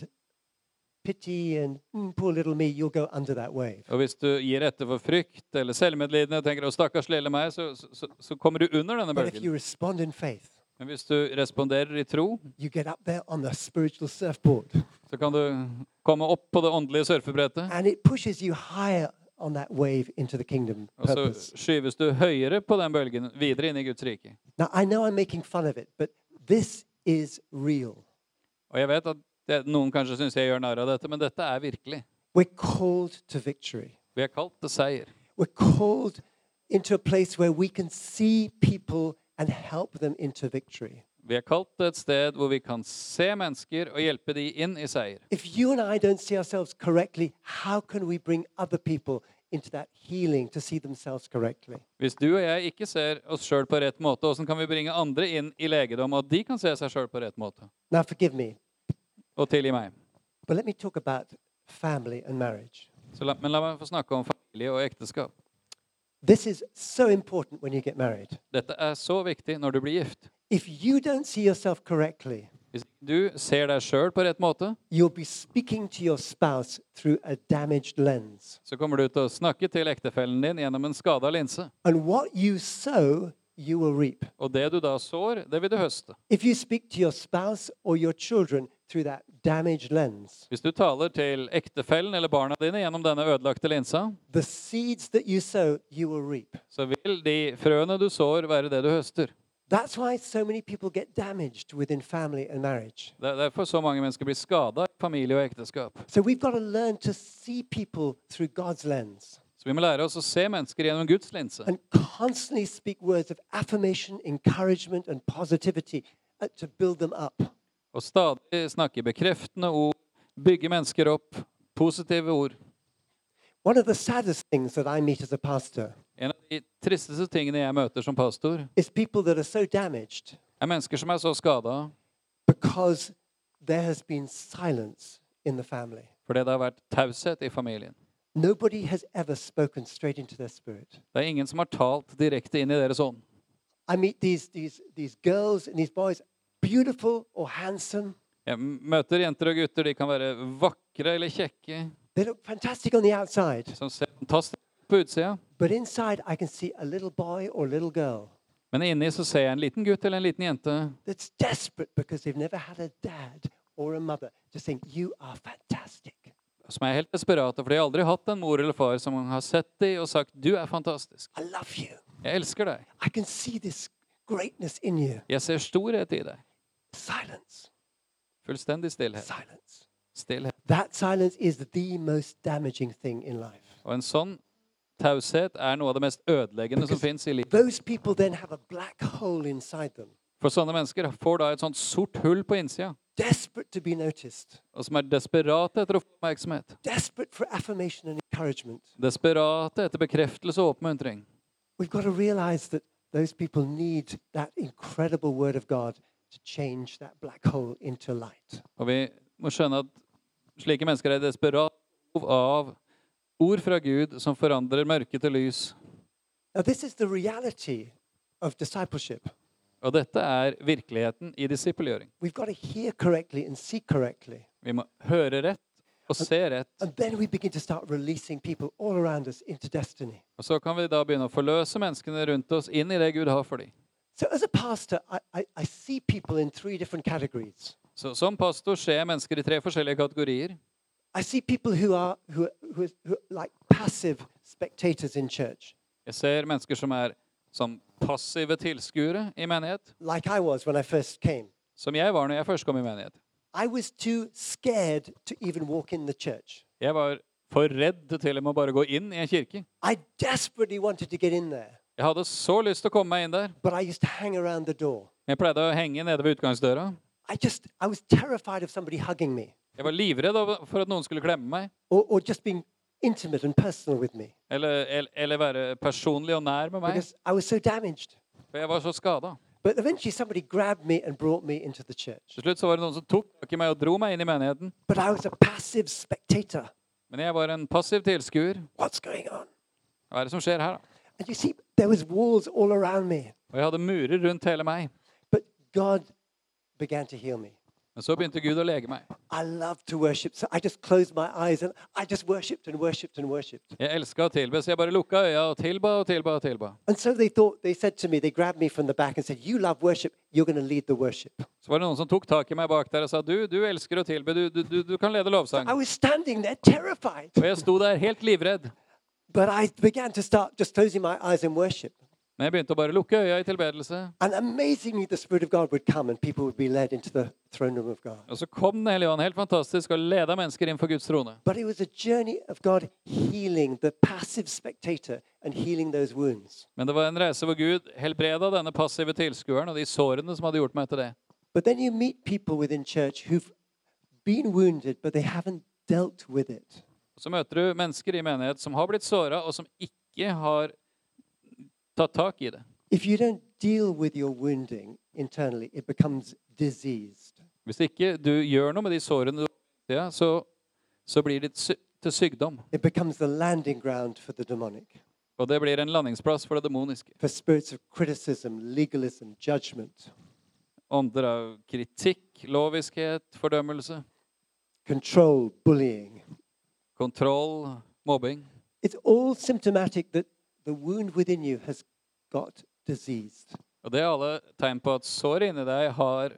S1: pity and "Mm, poor little me, you'll go under that wave.
S2: Og hvis du gir etter for frykt eller selvmedlidenhet og tenker 'Å, stakkars lille meg', så, så- så, så kommer du under denne
S1: But if you
S2: bølgen.
S1: respond in faith,
S2: Men hvis du responderer i tro,
S1: you get up there on the spiritual surfboard
S2: så kan du komme opp på det åndelige surfebrettet.
S1: and it pushes you higher on that wave into the kingdom
S2: Og så
S1: purpose.
S2: skyves du høyere på den bølgen, videre inn i Guds rike.
S1: Now, I know I'm making fun of it, but this is real.
S2: Og jeg vet at det, noen kanskje syns jeg gjør narr av dette, men dette er virkelig.
S1: We're called to victory.
S2: Vi er kalt til seier.
S1: We're called into a place where we can see people and help them into victory.
S2: Vi er kalt til et sted hvor vi kan se mennesker og hjelpe de inn i seier.
S1: If you and I don't see ourselves correctly, how can we bring other people into that healing to see themselves correctly?
S2: Hvis du og jeg ikke ser oss sjøl på rett måte, åssen kan vi bringe andre inn i legedom, og at de kan se seg sjøl på rett måte?
S1: Now, forgive me,
S2: Og tilgi meg.
S1: but let me talk about family and marriage.
S2: Så la, men la meg få snakke om familie og ekteskap.
S1: This is so important when you get married.
S2: Dette er så viktig når du blir gift.
S1: If you don't see yourself correctly,
S2: Hvis du ser deg sjøl på rett måte,
S1: you'll be speaking to your spouse through a damaged lens.
S2: så kommer du til å snakke til ektefellen din gjennom en skada linse.
S1: And what you sow, you will reap.
S2: Og det du da sår, det vil du høste.
S1: If you speak to your spouse or your children through that damaged lens,
S2: Hvis du taler til ektefellen eller barna dine gjennom denne ødelagte linsa,
S1: the seeds that you sow, you will reap.
S2: så vil de frøene du sår, være det du høster.
S1: That's why so many people get damaged within family and marriage.
S2: Det er derfor så mange mennesker blir skada i familie og ekteskap.
S1: So we've got to learn to see people through God's lens
S2: Så vi må lære oss å se mennesker gjennom Guds linse.
S1: and constantly speak words of affirmation, encouragement, and positivity uh, to build them up.
S2: Og stadig snakke bekreftende ord, bygge mennesker opp, positive ord.
S1: One of the saddest things that I meet as a pastor
S2: En av de tristeste tingene jeg møter som pastor,
S1: is people that are so damaged
S2: er mennesker som er så skada
S1: because there has been silence in the family.
S2: fordi det har vært taushet i familien.
S1: Nobody has ever spoken straight into their spirit.
S2: Det er ingen som har talt direkte inn i deres ånd.
S1: I meet these, these, these girls and these boys, beautiful or handsome.
S2: Jeg m- møter jenter og gutter. De kan være vakre eller kjekke,
S1: They look fantastic on the outside,
S2: som ser fantastisk ut på utsida.
S1: but inside I can see a little boy or little girl
S2: Men inni så ser jeg en liten gutt eller en liten jente
S1: that's desperate because they've never had a dad or a mother just saying, You are fantastic.
S2: som er helt desperate, for de har aldri hatt en mor eller far som har sett de og sagt 'du er fantastisk',
S1: I love you.
S2: 'jeg elsker deg',
S1: I can see this greatness in you.
S2: 'jeg ser storhet i deg'.
S1: Silence.
S2: Fullstendig stillhet.
S1: Silence.
S2: stillhet.
S1: That silence is the most damaging thing in life.
S2: Og en sånn taushet er noe av det mest ødeleggende som fins i livet.
S1: Those people then have a black hole inside them,
S2: For sånne mennesker får da et sånt sort hull på innsida,
S1: desperate to be noticed,
S2: og som er desperate etter å få oppmerksomhet.
S1: desperate for affirmation and encouragement.
S2: Desperate etter bekreftelse og oppmuntring.
S1: We've got to realize that those people need that incredible word of God to change that black hole into light.
S2: Og vi må skjønne at slike mennesker er i desperat behov av ord fra Gud som forandrer mørke til lys.
S1: Now, this is the reality of discipleship.
S2: Og dette er virkeligheten i disippelgjøring.
S1: We've got to hear correctly and see correctly.
S2: Vi må høre rett og se rett.
S1: And then we begin to start releasing people all around us into destiny.
S2: Og så kan vi da begynne å forløse menneskene rundt oss inn i det Gud har for dem.
S1: So, as a pastor, I, I, I see people in three different categories.
S2: Så som pastor ser jeg mennesker i tre forskjellige kategorier.
S1: I see people who are, who, are- who, are- who are like passive spectators in church,
S2: Jeg ser mennesker som er som passive tilskuere i menighet,
S1: like I was when I first came.
S2: som jeg var når jeg først kom i menighet.
S1: I was too scared to even walk in the church.
S2: Jeg var for redd til og med å bare gå inn i en kirke.
S1: I desperately wanted to get in there,
S2: Jeg hadde så lyst til å komme meg inn der.
S1: but I used to hang around the door.
S2: Jeg pleide å henge nede ved utgangsdøra.
S1: I just, I was terrified of somebody hugging me
S2: Jeg var livredd av- for at noen skulle klemme meg,
S1: or, or just being intimate and personal with me
S2: eller, el- eller være personlig og nær med meg.
S1: because I was so damaged.
S2: For jeg var så skada.
S1: But eventually somebody grabbed me and brought me into the church.
S2: Til slutt så var det noen som tok tak i meg og dro meg inn i menigheten.
S1: But I was a passive spectator.
S2: Men jeg var en passiv tilskuer.
S1: What's going on?
S2: Hva er det som skjer her, da?
S1: And you see, there was walls all around me.
S2: Og jeg hadde murer rundt hele meg.
S1: But God began to heal me.
S2: Men så begynte Gud å lege meg.
S1: I love to worship. So I just closed my eyes and I just worshipped and worshipped and worshipped.
S2: Jeg elska å tilbe, så jeg bare lukka øya og tilba og tilba og tilba.
S1: And so they thought, they said to me, they grabbed me from the back and said, You love worship. You're going to lead the worship.
S2: Så var det noen som tok tak i meg bak der og sa du, du elsker å tilbe, du, du, du, du kan lede lovsang.
S1: I was standing there terrified.
S2: Og jeg sto der helt livredd.
S1: But I began to start just closing my eyes in worship.
S2: Men jeg begynte å bare lukke øya i tilbedelse.
S1: And amazingly, the Spirit of God would come and people would be led into the throne room of God.
S2: Og så kom Den hellige ånd helt fantastisk og leda mennesker inn for Guds trone.
S1: But it was a journey of God healing the passive spectator and healing those wounds.
S2: Men det var en reise hvor Gud helbreda denne passive tilskueren og de sårene som hadde gjort meg etter det.
S1: But then you meet people within church who've been wounded, but they haven't dealt with it.
S2: Og så møter du mennesker i menighet som har blitt såra, og som ikke har tatt tak i det.
S1: If you don't deal with your wounding internally, it becomes diseased.
S2: Hvis ikke du gjør noe med de sårene du har, ja, så, så blir det sy- til sykdom.
S1: It becomes the landing ground for the demonic,
S2: Og det blir en landingsplass for det demoniske.
S1: for spirits of criticism, legalism, judgment,
S2: Ånder av kritikk, loviskhet, fordømmelse,
S1: control, bullying.
S2: kontroll, mobbing.
S1: It's all symptomatic that the wound within you has got diseased.
S2: Og det er alle tegn på at såret inni deg har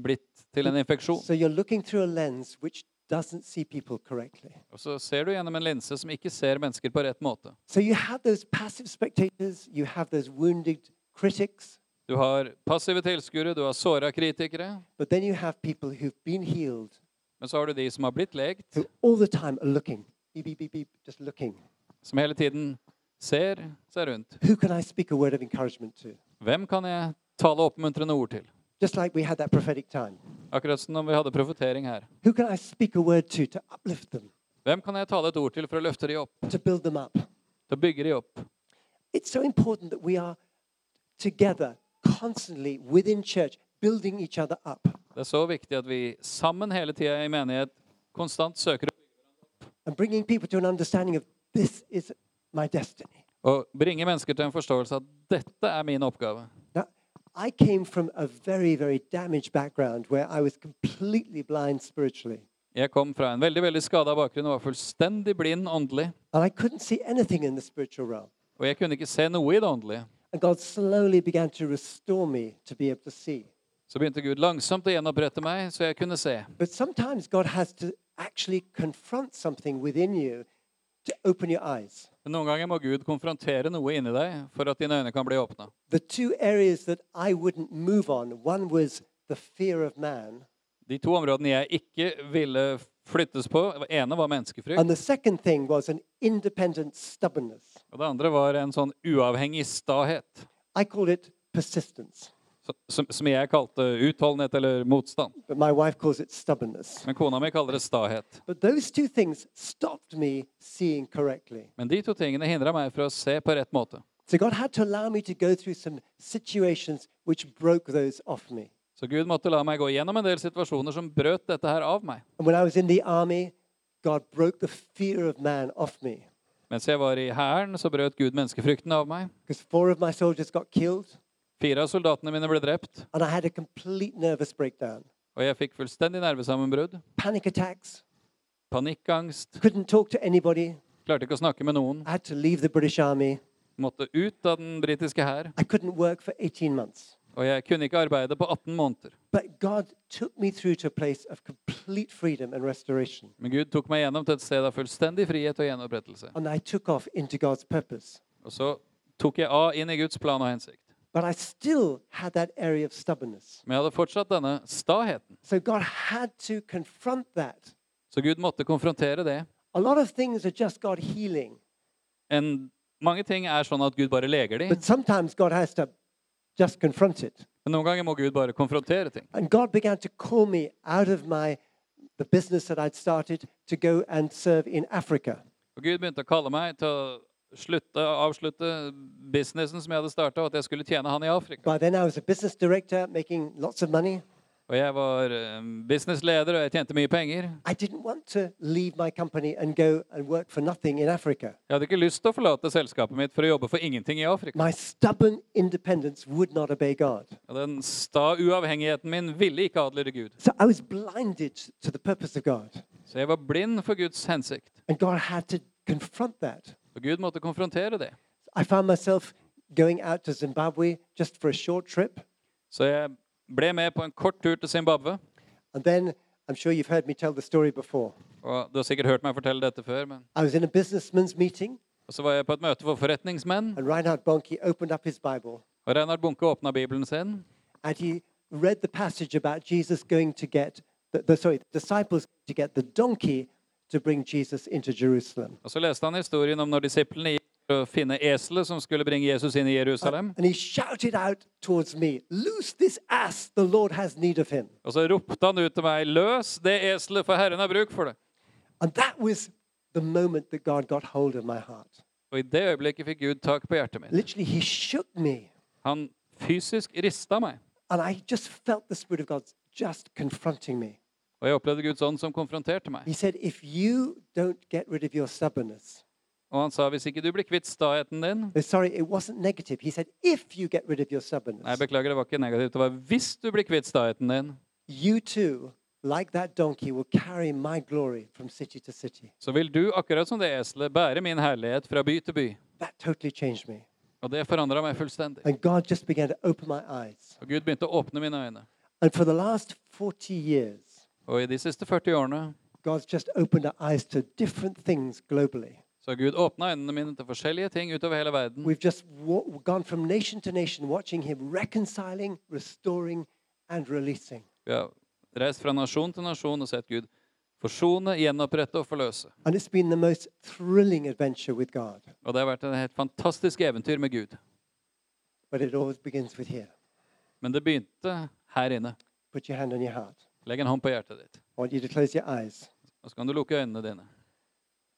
S2: blitt til en infeksjon.
S1: So you're looking through a lens which doesn't see people correctly.
S2: Og så ser du gjennom en linse som ikke ser mennesker på rett måte.
S1: So you have those passive spectators, you have those wounded critics,
S2: Du har passive tilskuere, du har såra kritikere,
S1: but then you have people who've been healed
S2: men så har du de som har blitt lekt,
S1: who all the time are looking, beep, beep, beep, beep, just looking.
S2: som hele tiden ser seg rundt.
S1: Who can I speak a word of encouragement to?
S2: Hvem kan jeg tale oppmuntrende ord til?
S1: Just like we had that prophetic time.
S2: Akkurat som når vi hadde profetering her.
S1: Who can I speak a word to to uplift them,
S2: Hvem kan jeg tale et ord til for å løfte de opp?
S1: to build them up?
S2: Til å bygge de opp?
S1: It's so important that we are together, constantly within church, building each other up
S2: Det er så viktig at vi sammen hele tida i menighet konstant søker
S1: and bringing people to an understanding of this is my destiny.
S2: å bringe mennesker til en forståelse at dette er min oppgave.
S1: Now, I came from a very, very damaged background where I was completely blind spiritually.
S2: Jeg kom fra en veldig veldig skada bakgrunn og var fullstendig blind åndelig.
S1: And I couldn't see anything in the spiritual realm.
S2: Og jeg kunne ikke se noe i det åndelige.
S1: And God slowly began to restore me to be able to see.
S2: Så begynte Gud langsomt å gjenopprette meg, så jeg kunne se.
S1: But sometimes God has to actually confront something within you to open your eyes.
S2: Men noen ganger må Gud konfrontere noe inni deg for at dine øyne kan bli åpna.
S1: The two areas that I wouldn't move on one was the fear of man,
S2: De to områdene jeg ikke ville flyttes på, det ene var menneskefrykt,
S1: and the second thing was an independent stubbornness.
S2: og det andre var en sånn uavhengig stahet,
S1: I called it persistence,
S2: så- som, som jeg kalte utholdenhet eller motstand.
S1: but my wife calls it stubbornness.
S2: Men kona mi kaller det stahet.
S1: But those two things stopped me seeing correctly.
S2: Men de to tingene hindra meg fra å se på rett måte.
S1: So God had to allow me to go through some situations which broke those off me.
S2: Så Gud måtte la meg gå gjennom en del situasjoner som brøt dette her av meg.
S1: And when I was in the army, God broke the fear of man off me
S2: Mens jeg var i hæren, så brøt Gud menneskefrykten av meg.
S1: because four of my soldiers got killed
S2: Fire av soldatene mine ble drept,
S1: and I had a complete nervous breakdown.
S2: og jeg fikk fullstendig nervesammenbrudd.
S1: Panic attacks,
S2: Panikkangst.
S1: couldn't talk to anybody.
S2: Klarte ikke å snakke med noen.
S1: I had to leave the British army.
S2: Måtte ut av den britiske hær.
S1: I couldn't work for 18 months.
S2: Og jeg kunne ikke arbeide på 18 måneder.
S1: But God took me through to a place of complete freedom and restoration.
S2: Men Gud tok meg gjennom til et sted av fullstendig frihet og gjenopprettelse.
S1: And I took off into God's purpose.
S2: Og så tok jeg av inn i Guds plan og hensikt.
S1: But I still had that area of stubbornness.
S2: Men jeg hadde fortsatt denne staheten.
S1: So God had to confront that.
S2: Så Gud måtte konfrontere det.
S1: A lot of things are just God healing,
S2: En, mange ting er sånn at Gud bare leger de.
S1: but sometimes God has to just confront it.
S2: Men noen ganger må Gud bare konfrontere ting.
S1: And God began to call me out of my the business that I'd started to go and serve in Africa.
S2: Og Gud begynte å kalle meg til å slutte, avslutte businessen som jeg hadde starta, og at jeg skulle tjene han i Afrika.
S1: By then, I was a business director making lots of money.
S2: Og jeg var eh, businessleder, og jeg tjente mye penger.
S1: I didn't want to leave my company and go and work for nothing in Africa.
S2: Jeg hadde ikke lyst til å forlate selskapet mitt for å jobbe for ingenting i Afrika.
S1: My stubborn independence would not obey God.
S2: Og Den sta uavhengigheten min ville ikke adlyde Gud.
S1: So I was blinded to the purpose of God.
S2: Så jeg var blind for Guds hensikt.
S1: And God had to confront that.
S2: Og Gud måtte konfrontere det.
S1: I found myself going out to Zimbabwe just for a short trip.
S2: Så jeg ble med på en kort tur til Zimbabwe.
S1: And then I'm sure you've heard me tell the story before.
S2: Og du har sikkert hørt meg fortelle dette før, men
S1: I was in a businessman's meeting,
S2: Og så var jeg på et møte for forretningsmenn,
S1: and Reinhard Bonnke opened up his Bible
S2: og Reinhard Bunke åpna Bibelen sin.
S1: and he read the passage about Jesus going to get, the, the, sorry, the disciples to get the donkey to bring Jesus into Jerusalem.
S2: Og så leste han historien om når disiplene gikk for å finne eselet som skulle bringe Jesus inn i Jerusalem.
S1: And he shouted out towards me, Loose this ass, the Lord has need of him.
S2: Og så ropte han ut til meg, 'Løs det eselet, for Herren har bruk for det'.
S1: And that was the moment that God got hold of my heart.
S2: Og i det øyeblikket fikk Gud tak på hjertet mitt.
S1: Literally, he shook me.
S2: Han fysisk rista meg.
S1: And I just felt the Spirit of God just confronting me.
S2: Og jeg opplevde Guds ånd som konfronterte meg.
S1: He said, If you don't get rid of your stubbornness,
S2: Og han sa, 'Hvis ikke du blir kvitt staheten din'
S1: oh, sorry, it wasn't negative. He said, If you get rid of your
S2: Nei,
S1: stubbornness,
S2: beklager, det var ikke negativt. Det var 'hvis du blir kvitt staheten din',
S1: you too, like that donkey, will carry my glory from city to city.
S2: så vil du, akkurat som det eselet, bære min herlighet fra by til by.
S1: That totally changed me.
S2: Og det forandra meg fullstendig.
S1: And God just began to open my eyes.
S2: Og Gud begynte å åpne mine øyne.
S1: And for the last 40 years,
S2: Og i de siste 40 årene
S1: God's just opened our eyes to different things globally.
S2: så har Gud åpna øynene mine til forskjellige ting utover hele verden.
S1: We've just wa- gone from nation to nation, watching Him reconciling, restoring, and releasing.
S2: Vi har reist fra nasjon til nasjon og sett Gud forsone, gjenopprette og forløse.
S1: And it's been the most thrilling adventure with God.
S2: Og det har vært et helt fantastisk eventyr med Gud.
S1: But it always begins with here.
S2: Men det begynte her inne.
S1: Put your hand on your heart.
S2: Legg en hånd på hjertet ditt.
S1: I want you to close your eyes.
S2: Og så kan du lukke øynene dine.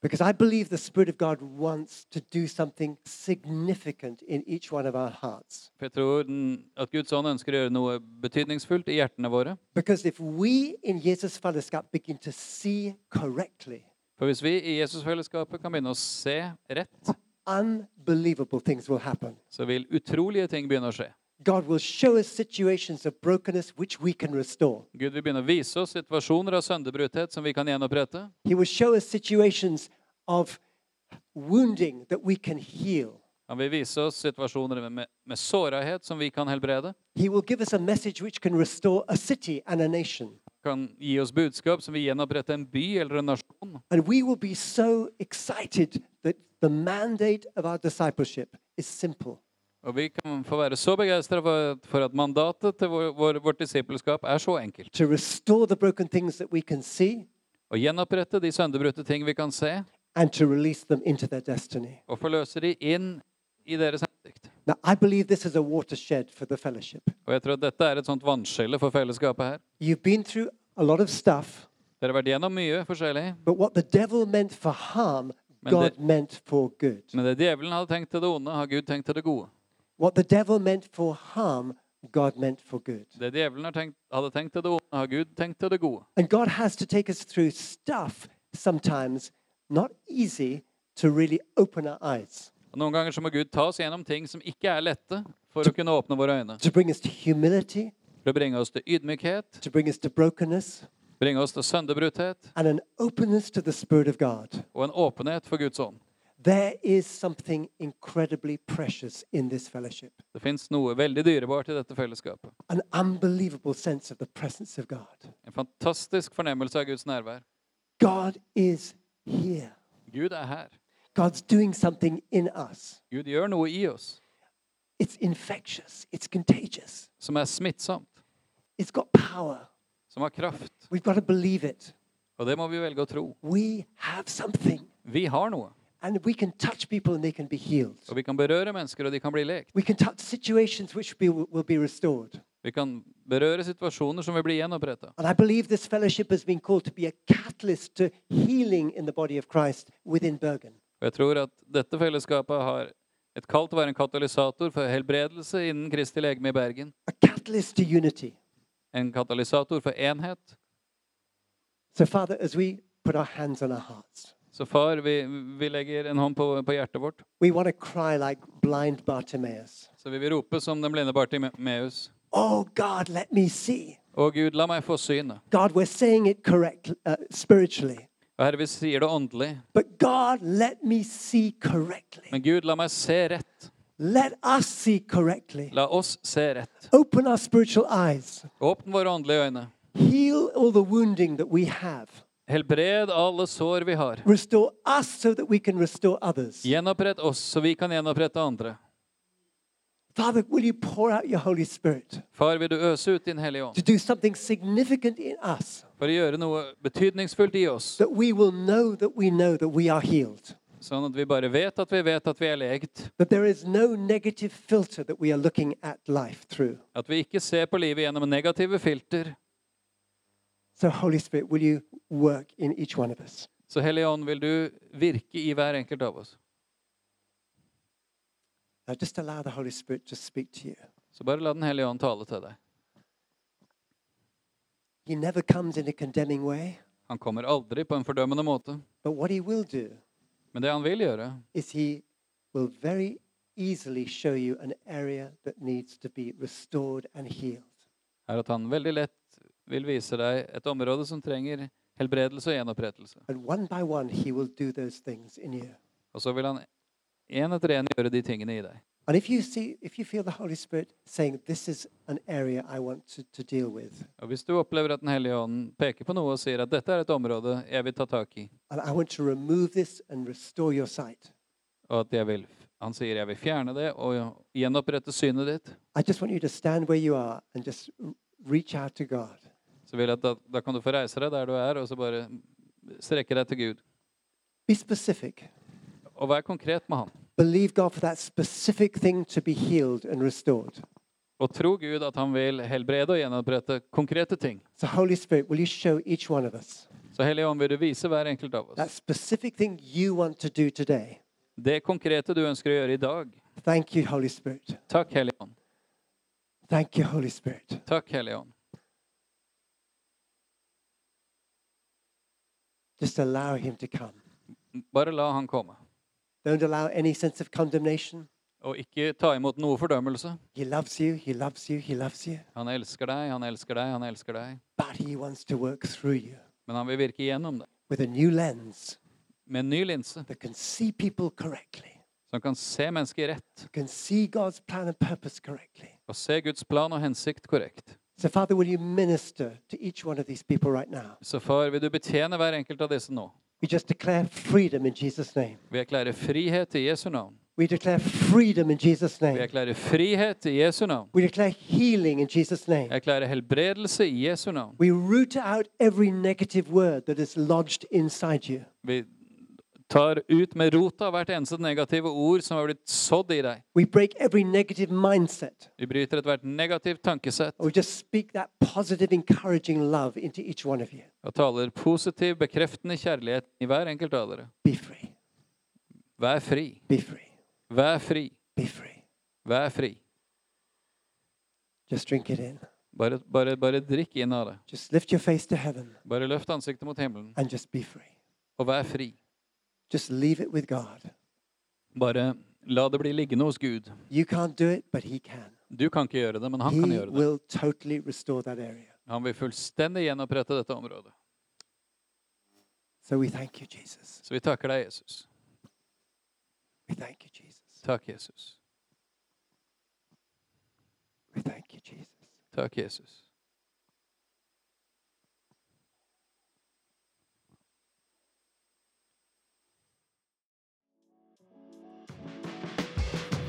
S1: Because I believe the Spirit of God wants to do something significant in each one of our hearts.
S2: For jeg tror den, at Guds ånd ønsker å gjøre noe betydningsfullt i hjertene våre.
S1: Because if we in Jesus Fellowship begin to see correctly,
S2: For hvis vi i Jesusfellesskapet kan begynne å se rett,
S1: unbelievable things will happen.
S2: så vil utrolige ting begynne å skje.
S1: God will show us situations of brokenness which we can restore.
S2: Gud vil begynne å vise oss situasjoner av sønderbruthet som vi kan gjenopprette.
S1: He will show us situations of wounding that we can heal.
S2: Han vil vise oss situasjoner med, med, med sårhet som vi kan helbrede.
S1: He will give us a message which can restore a city and a nation.
S2: Kan gi oss budskap som vil gjenopprette en by eller en nasjon.
S1: And we will be so excited that the mandate of our discipleship is simple
S2: Og vi kan få være så begeistra for, for at mandatet til vår, vår, vårt disippelskap er så enkelt.
S1: to restore the broken things that we can see
S2: Å gjenopprette de sønderbrutte ting vi kan se,
S1: and to release them into their destiny.
S2: og forløse de inn i deres hensikt.
S1: Now, I believe this is a watershed for the fellowship.
S2: Og jeg tror at dette er et sånt vannskille for fellesskapet her.
S1: You've been through a lot of stuff,
S2: Dere har vært gjennom mye forskjellig,
S1: but what the devil meant for harm,
S2: Men
S1: God
S2: det-
S1: meant for good.
S2: men det djevelen hadde tenkt til det onde, har Gud tenkt til det gode.
S1: What the devil meant for harm, God meant for good.
S2: Det djevelen har tenkt, hadde tenkt til det onde, har Gud tenkt til det gode.
S1: And God has to take us through stuff sometimes not easy to really open our eyes,
S2: Og Noen ganger så må Gud ta oss gjennom ting som ikke er lette, for å kunne åpne våre øyne.
S1: to bring us to humility,
S2: For å bringe oss til ydmykhet,
S1: to bring us to brokenness,
S2: bringe oss til sønderbruthet
S1: and an openness to the Spirit of God.
S2: og en åpenhet for Guds ånd.
S1: There is something incredibly precious in this fellowship
S2: Det fins noe veldig dyrebart i dette fellesskapet.
S1: an unbelievable sense of the presence of God.
S2: En fantastisk fornemmelse av Guds nærvær.
S1: God is here,
S2: Gud er her.
S1: God's doing something in us.
S2: Gud gjør noe i oss
S1: It's infectious, it's contagious,
S2: som er smittsomt,
S1: it's got power.
S2: som har kraft.
S1: We've got to believe it.
S2: Og det må vi velge å tro.
S1: We have something.
S2: Vi har noe.
S1: And we can touch people and they can be healed.
S2: Og vi kan berøre mennesker, og de kan bli lekt.
S1: We can touch situations which be, will be restored.
S2: Vi kan berøre situasjoner som vil bli gjenoppretta.
S1: And I believe this fellowship has been called to be a catalyst to healing in the body of Christ within Bergen.
S2: Og jeg tror at dette fellesskapet har et kall til å være en katalysator for helbredelse innen Kristi legeme i Bergen.
S1: a catalyst to unity.
S2: En katalysator for enhet.
S1: So, Father, as we put our hands on our hearts,
S2: Så far, vi, vi legger en hånd på, på hjertet vårt.
S1: we want to cry like blind Bartimaeus
S2: Så vi vil rope som den blinde Bartimeus.
S1: Oh, God, let me see.
S2: Å Gud, la meg få syn.
S1: God, we're saying it correct uh, spiritually,
S2: Og Herre, vi sier det åndelig.
S1: but God, let me see correctly.
S2: Men Gud, la meg se rett.
S1: Let us see correctly.
S2: La oss se rett.
S1: Open our spiritual eyes.
S2: Åpne våre åndelige øyne.
S1: Heal all the wounding that we have.
S2: Helbred alle sår vi har.
S1: Restore us so that we can restore others.
S2: Gjenopprett oss, så vi kan gjenopprette andre.
S1: Father, will you pour out your Holy Spirit
S2: Far, vil du øse ut din Hellige Ånd
S1: to do something significant in us
S2: for å gjøre noe betydningsfullt i oss,
S1: that we will know that we know that we are healed,
S2: sånn at vi bare vet at vi vet at vi er legt,
S1: that there is no negative filter that we are looking at life through.
S2: at vi ikke ser på livet gjennom negative filter.
S1: So, Holy Spirit, will you work in each one of us?
S2: Så Hellige Ånd, vil du virke i hver enkelt av oss.
S1: Now, just allow the Holy Spirit to speak to you.
S2: Så bare la Den Hellige Ånd tale til deg.
S1: He never comes in a condemning way,
S2: Han kommer aldri på en fordømmende måte.
S1: but what he will do
S2: Men det han vil gjøre,
S1: is he will very easily show you an area that needs to be restored and healed.
S2: er at han veldig lett vil vise deg et område som trenger helbredelse og gjenopprettelse.
S1: And one by one, he will do those things in you.
S2: Og så vil han en etter en gjøre de tingene i deg.
S1: And if you see, if you feel the Holy Spirit saying, This is an area I want to, to deal with,
S2: Og hvis du opplever at Den hellige ånd peker på noe og sier at dette er et område jeg vil ta tak i,
S1: and I want to remove this and restore your sight,
S2: og at jeg vil Han sier jeg vil fjerne det og gjenopprette synet ditt,
S1: I just want you to stand where you are and just r- reach out to God.
S2: så vil jeg at da, da kan du få reise deg der du er, og så bare strekke deg til Gud.
S1: Be specific.
S2: Og vær konkret med Han.
S1: Believe God for that specific thing to be healed and restored.
S2: Og tro Gud at Han vil helbrede og gjenopprette konkrete ting.
S1: So, Holy Spirit, will you show each one of us
S2: Så Hellige Ånd, vil du vise hver enkelt av
S1: that
S2: oss
S1: specific thing you want to do today?
S2: det konkrete du ønsker å gjøre i dag?
S1: Thank you, Holy Spirit.
S2: Takk, Hellige Ånd.
S1: Thank you, Holy Spirit.
S2: Takk, Hellige Ånd.
S1: Just allow Him to come.
S2: Bare la Han komme.
S1: Don't allow any sense of condemnation.
S2: Og ikke ta imot noe fordømmelse.
S1: He loves you, He loves you, He loves you.
S2: Han elsker deg, han elsker deg, han elsker deg.
S1: But He wants to work through you
S2: Men han vil virke gjennom deg
S1: with a new lens
S2: med en ny linse
S1: that can see people correctly,
S2: som kan se mennesket rett
S1: can see God's plan and purpose correctly.
S2: og se Guds plan og hensikt korrekt.
S1: So, Father, will you minister to each one of these people right now?
S2: Så far, vil du betjene hver enkelt av disse nå?
S1: We just declare freedom in Jesus' name.
S2: Vi erklærer frihet i Jesu navn.
S1: We declare freedom in Jesus'
S2: Vi
S1: name.
S2: erklærer frihet i Jesu navn.
S1: We declare healing in Jesus' name.
S2: Jeg erklærer helbredelse i Jesu navn.
S1: We root out every negative word that is lodged inside you.
S2: Vi tar ut med rota hvert eneste negative ord som har blitt sådd i deg.
S1: We break every negative mindset.
S2: Vi bryter ethvert negativt tankesett
S1: We just speak that positive, encouraging love into each one of you.
S2: og taler positiv, bekreftende kjærlighet i hver enkelt av dere.
S1: Be free.
S2: Vær fri.
S1: Be free.
S2: Vær fri.
S1: Be free.
S2: Vær fri.
S1: Just drink it in.
S2: Bare, bare, bare drikk inn av det.
S1: Just lift your face to heaven
S2: Bare løft ansiktet mot himmelen
S1: and just be free.
S2: og vær fri.
S1: Just leave it with God.
S2: Bare la det bli liggende hos Gud.
S1: You can't do it, but He can.
S2: Du kan ikke gjøre det, men han kan
S1: He
S2: gjøre det.
S1: will totally restore that area.
S2: Han vil fullstendig gjenopprette dette området.
S1: So we thank you, Jesus.
S2: Så vi takker deg, Jesus.
S1: We thank you, Jesus.
S2: Takk, Jesus.
S1: We thank you, Jesus.
S2: Takk, Jesus.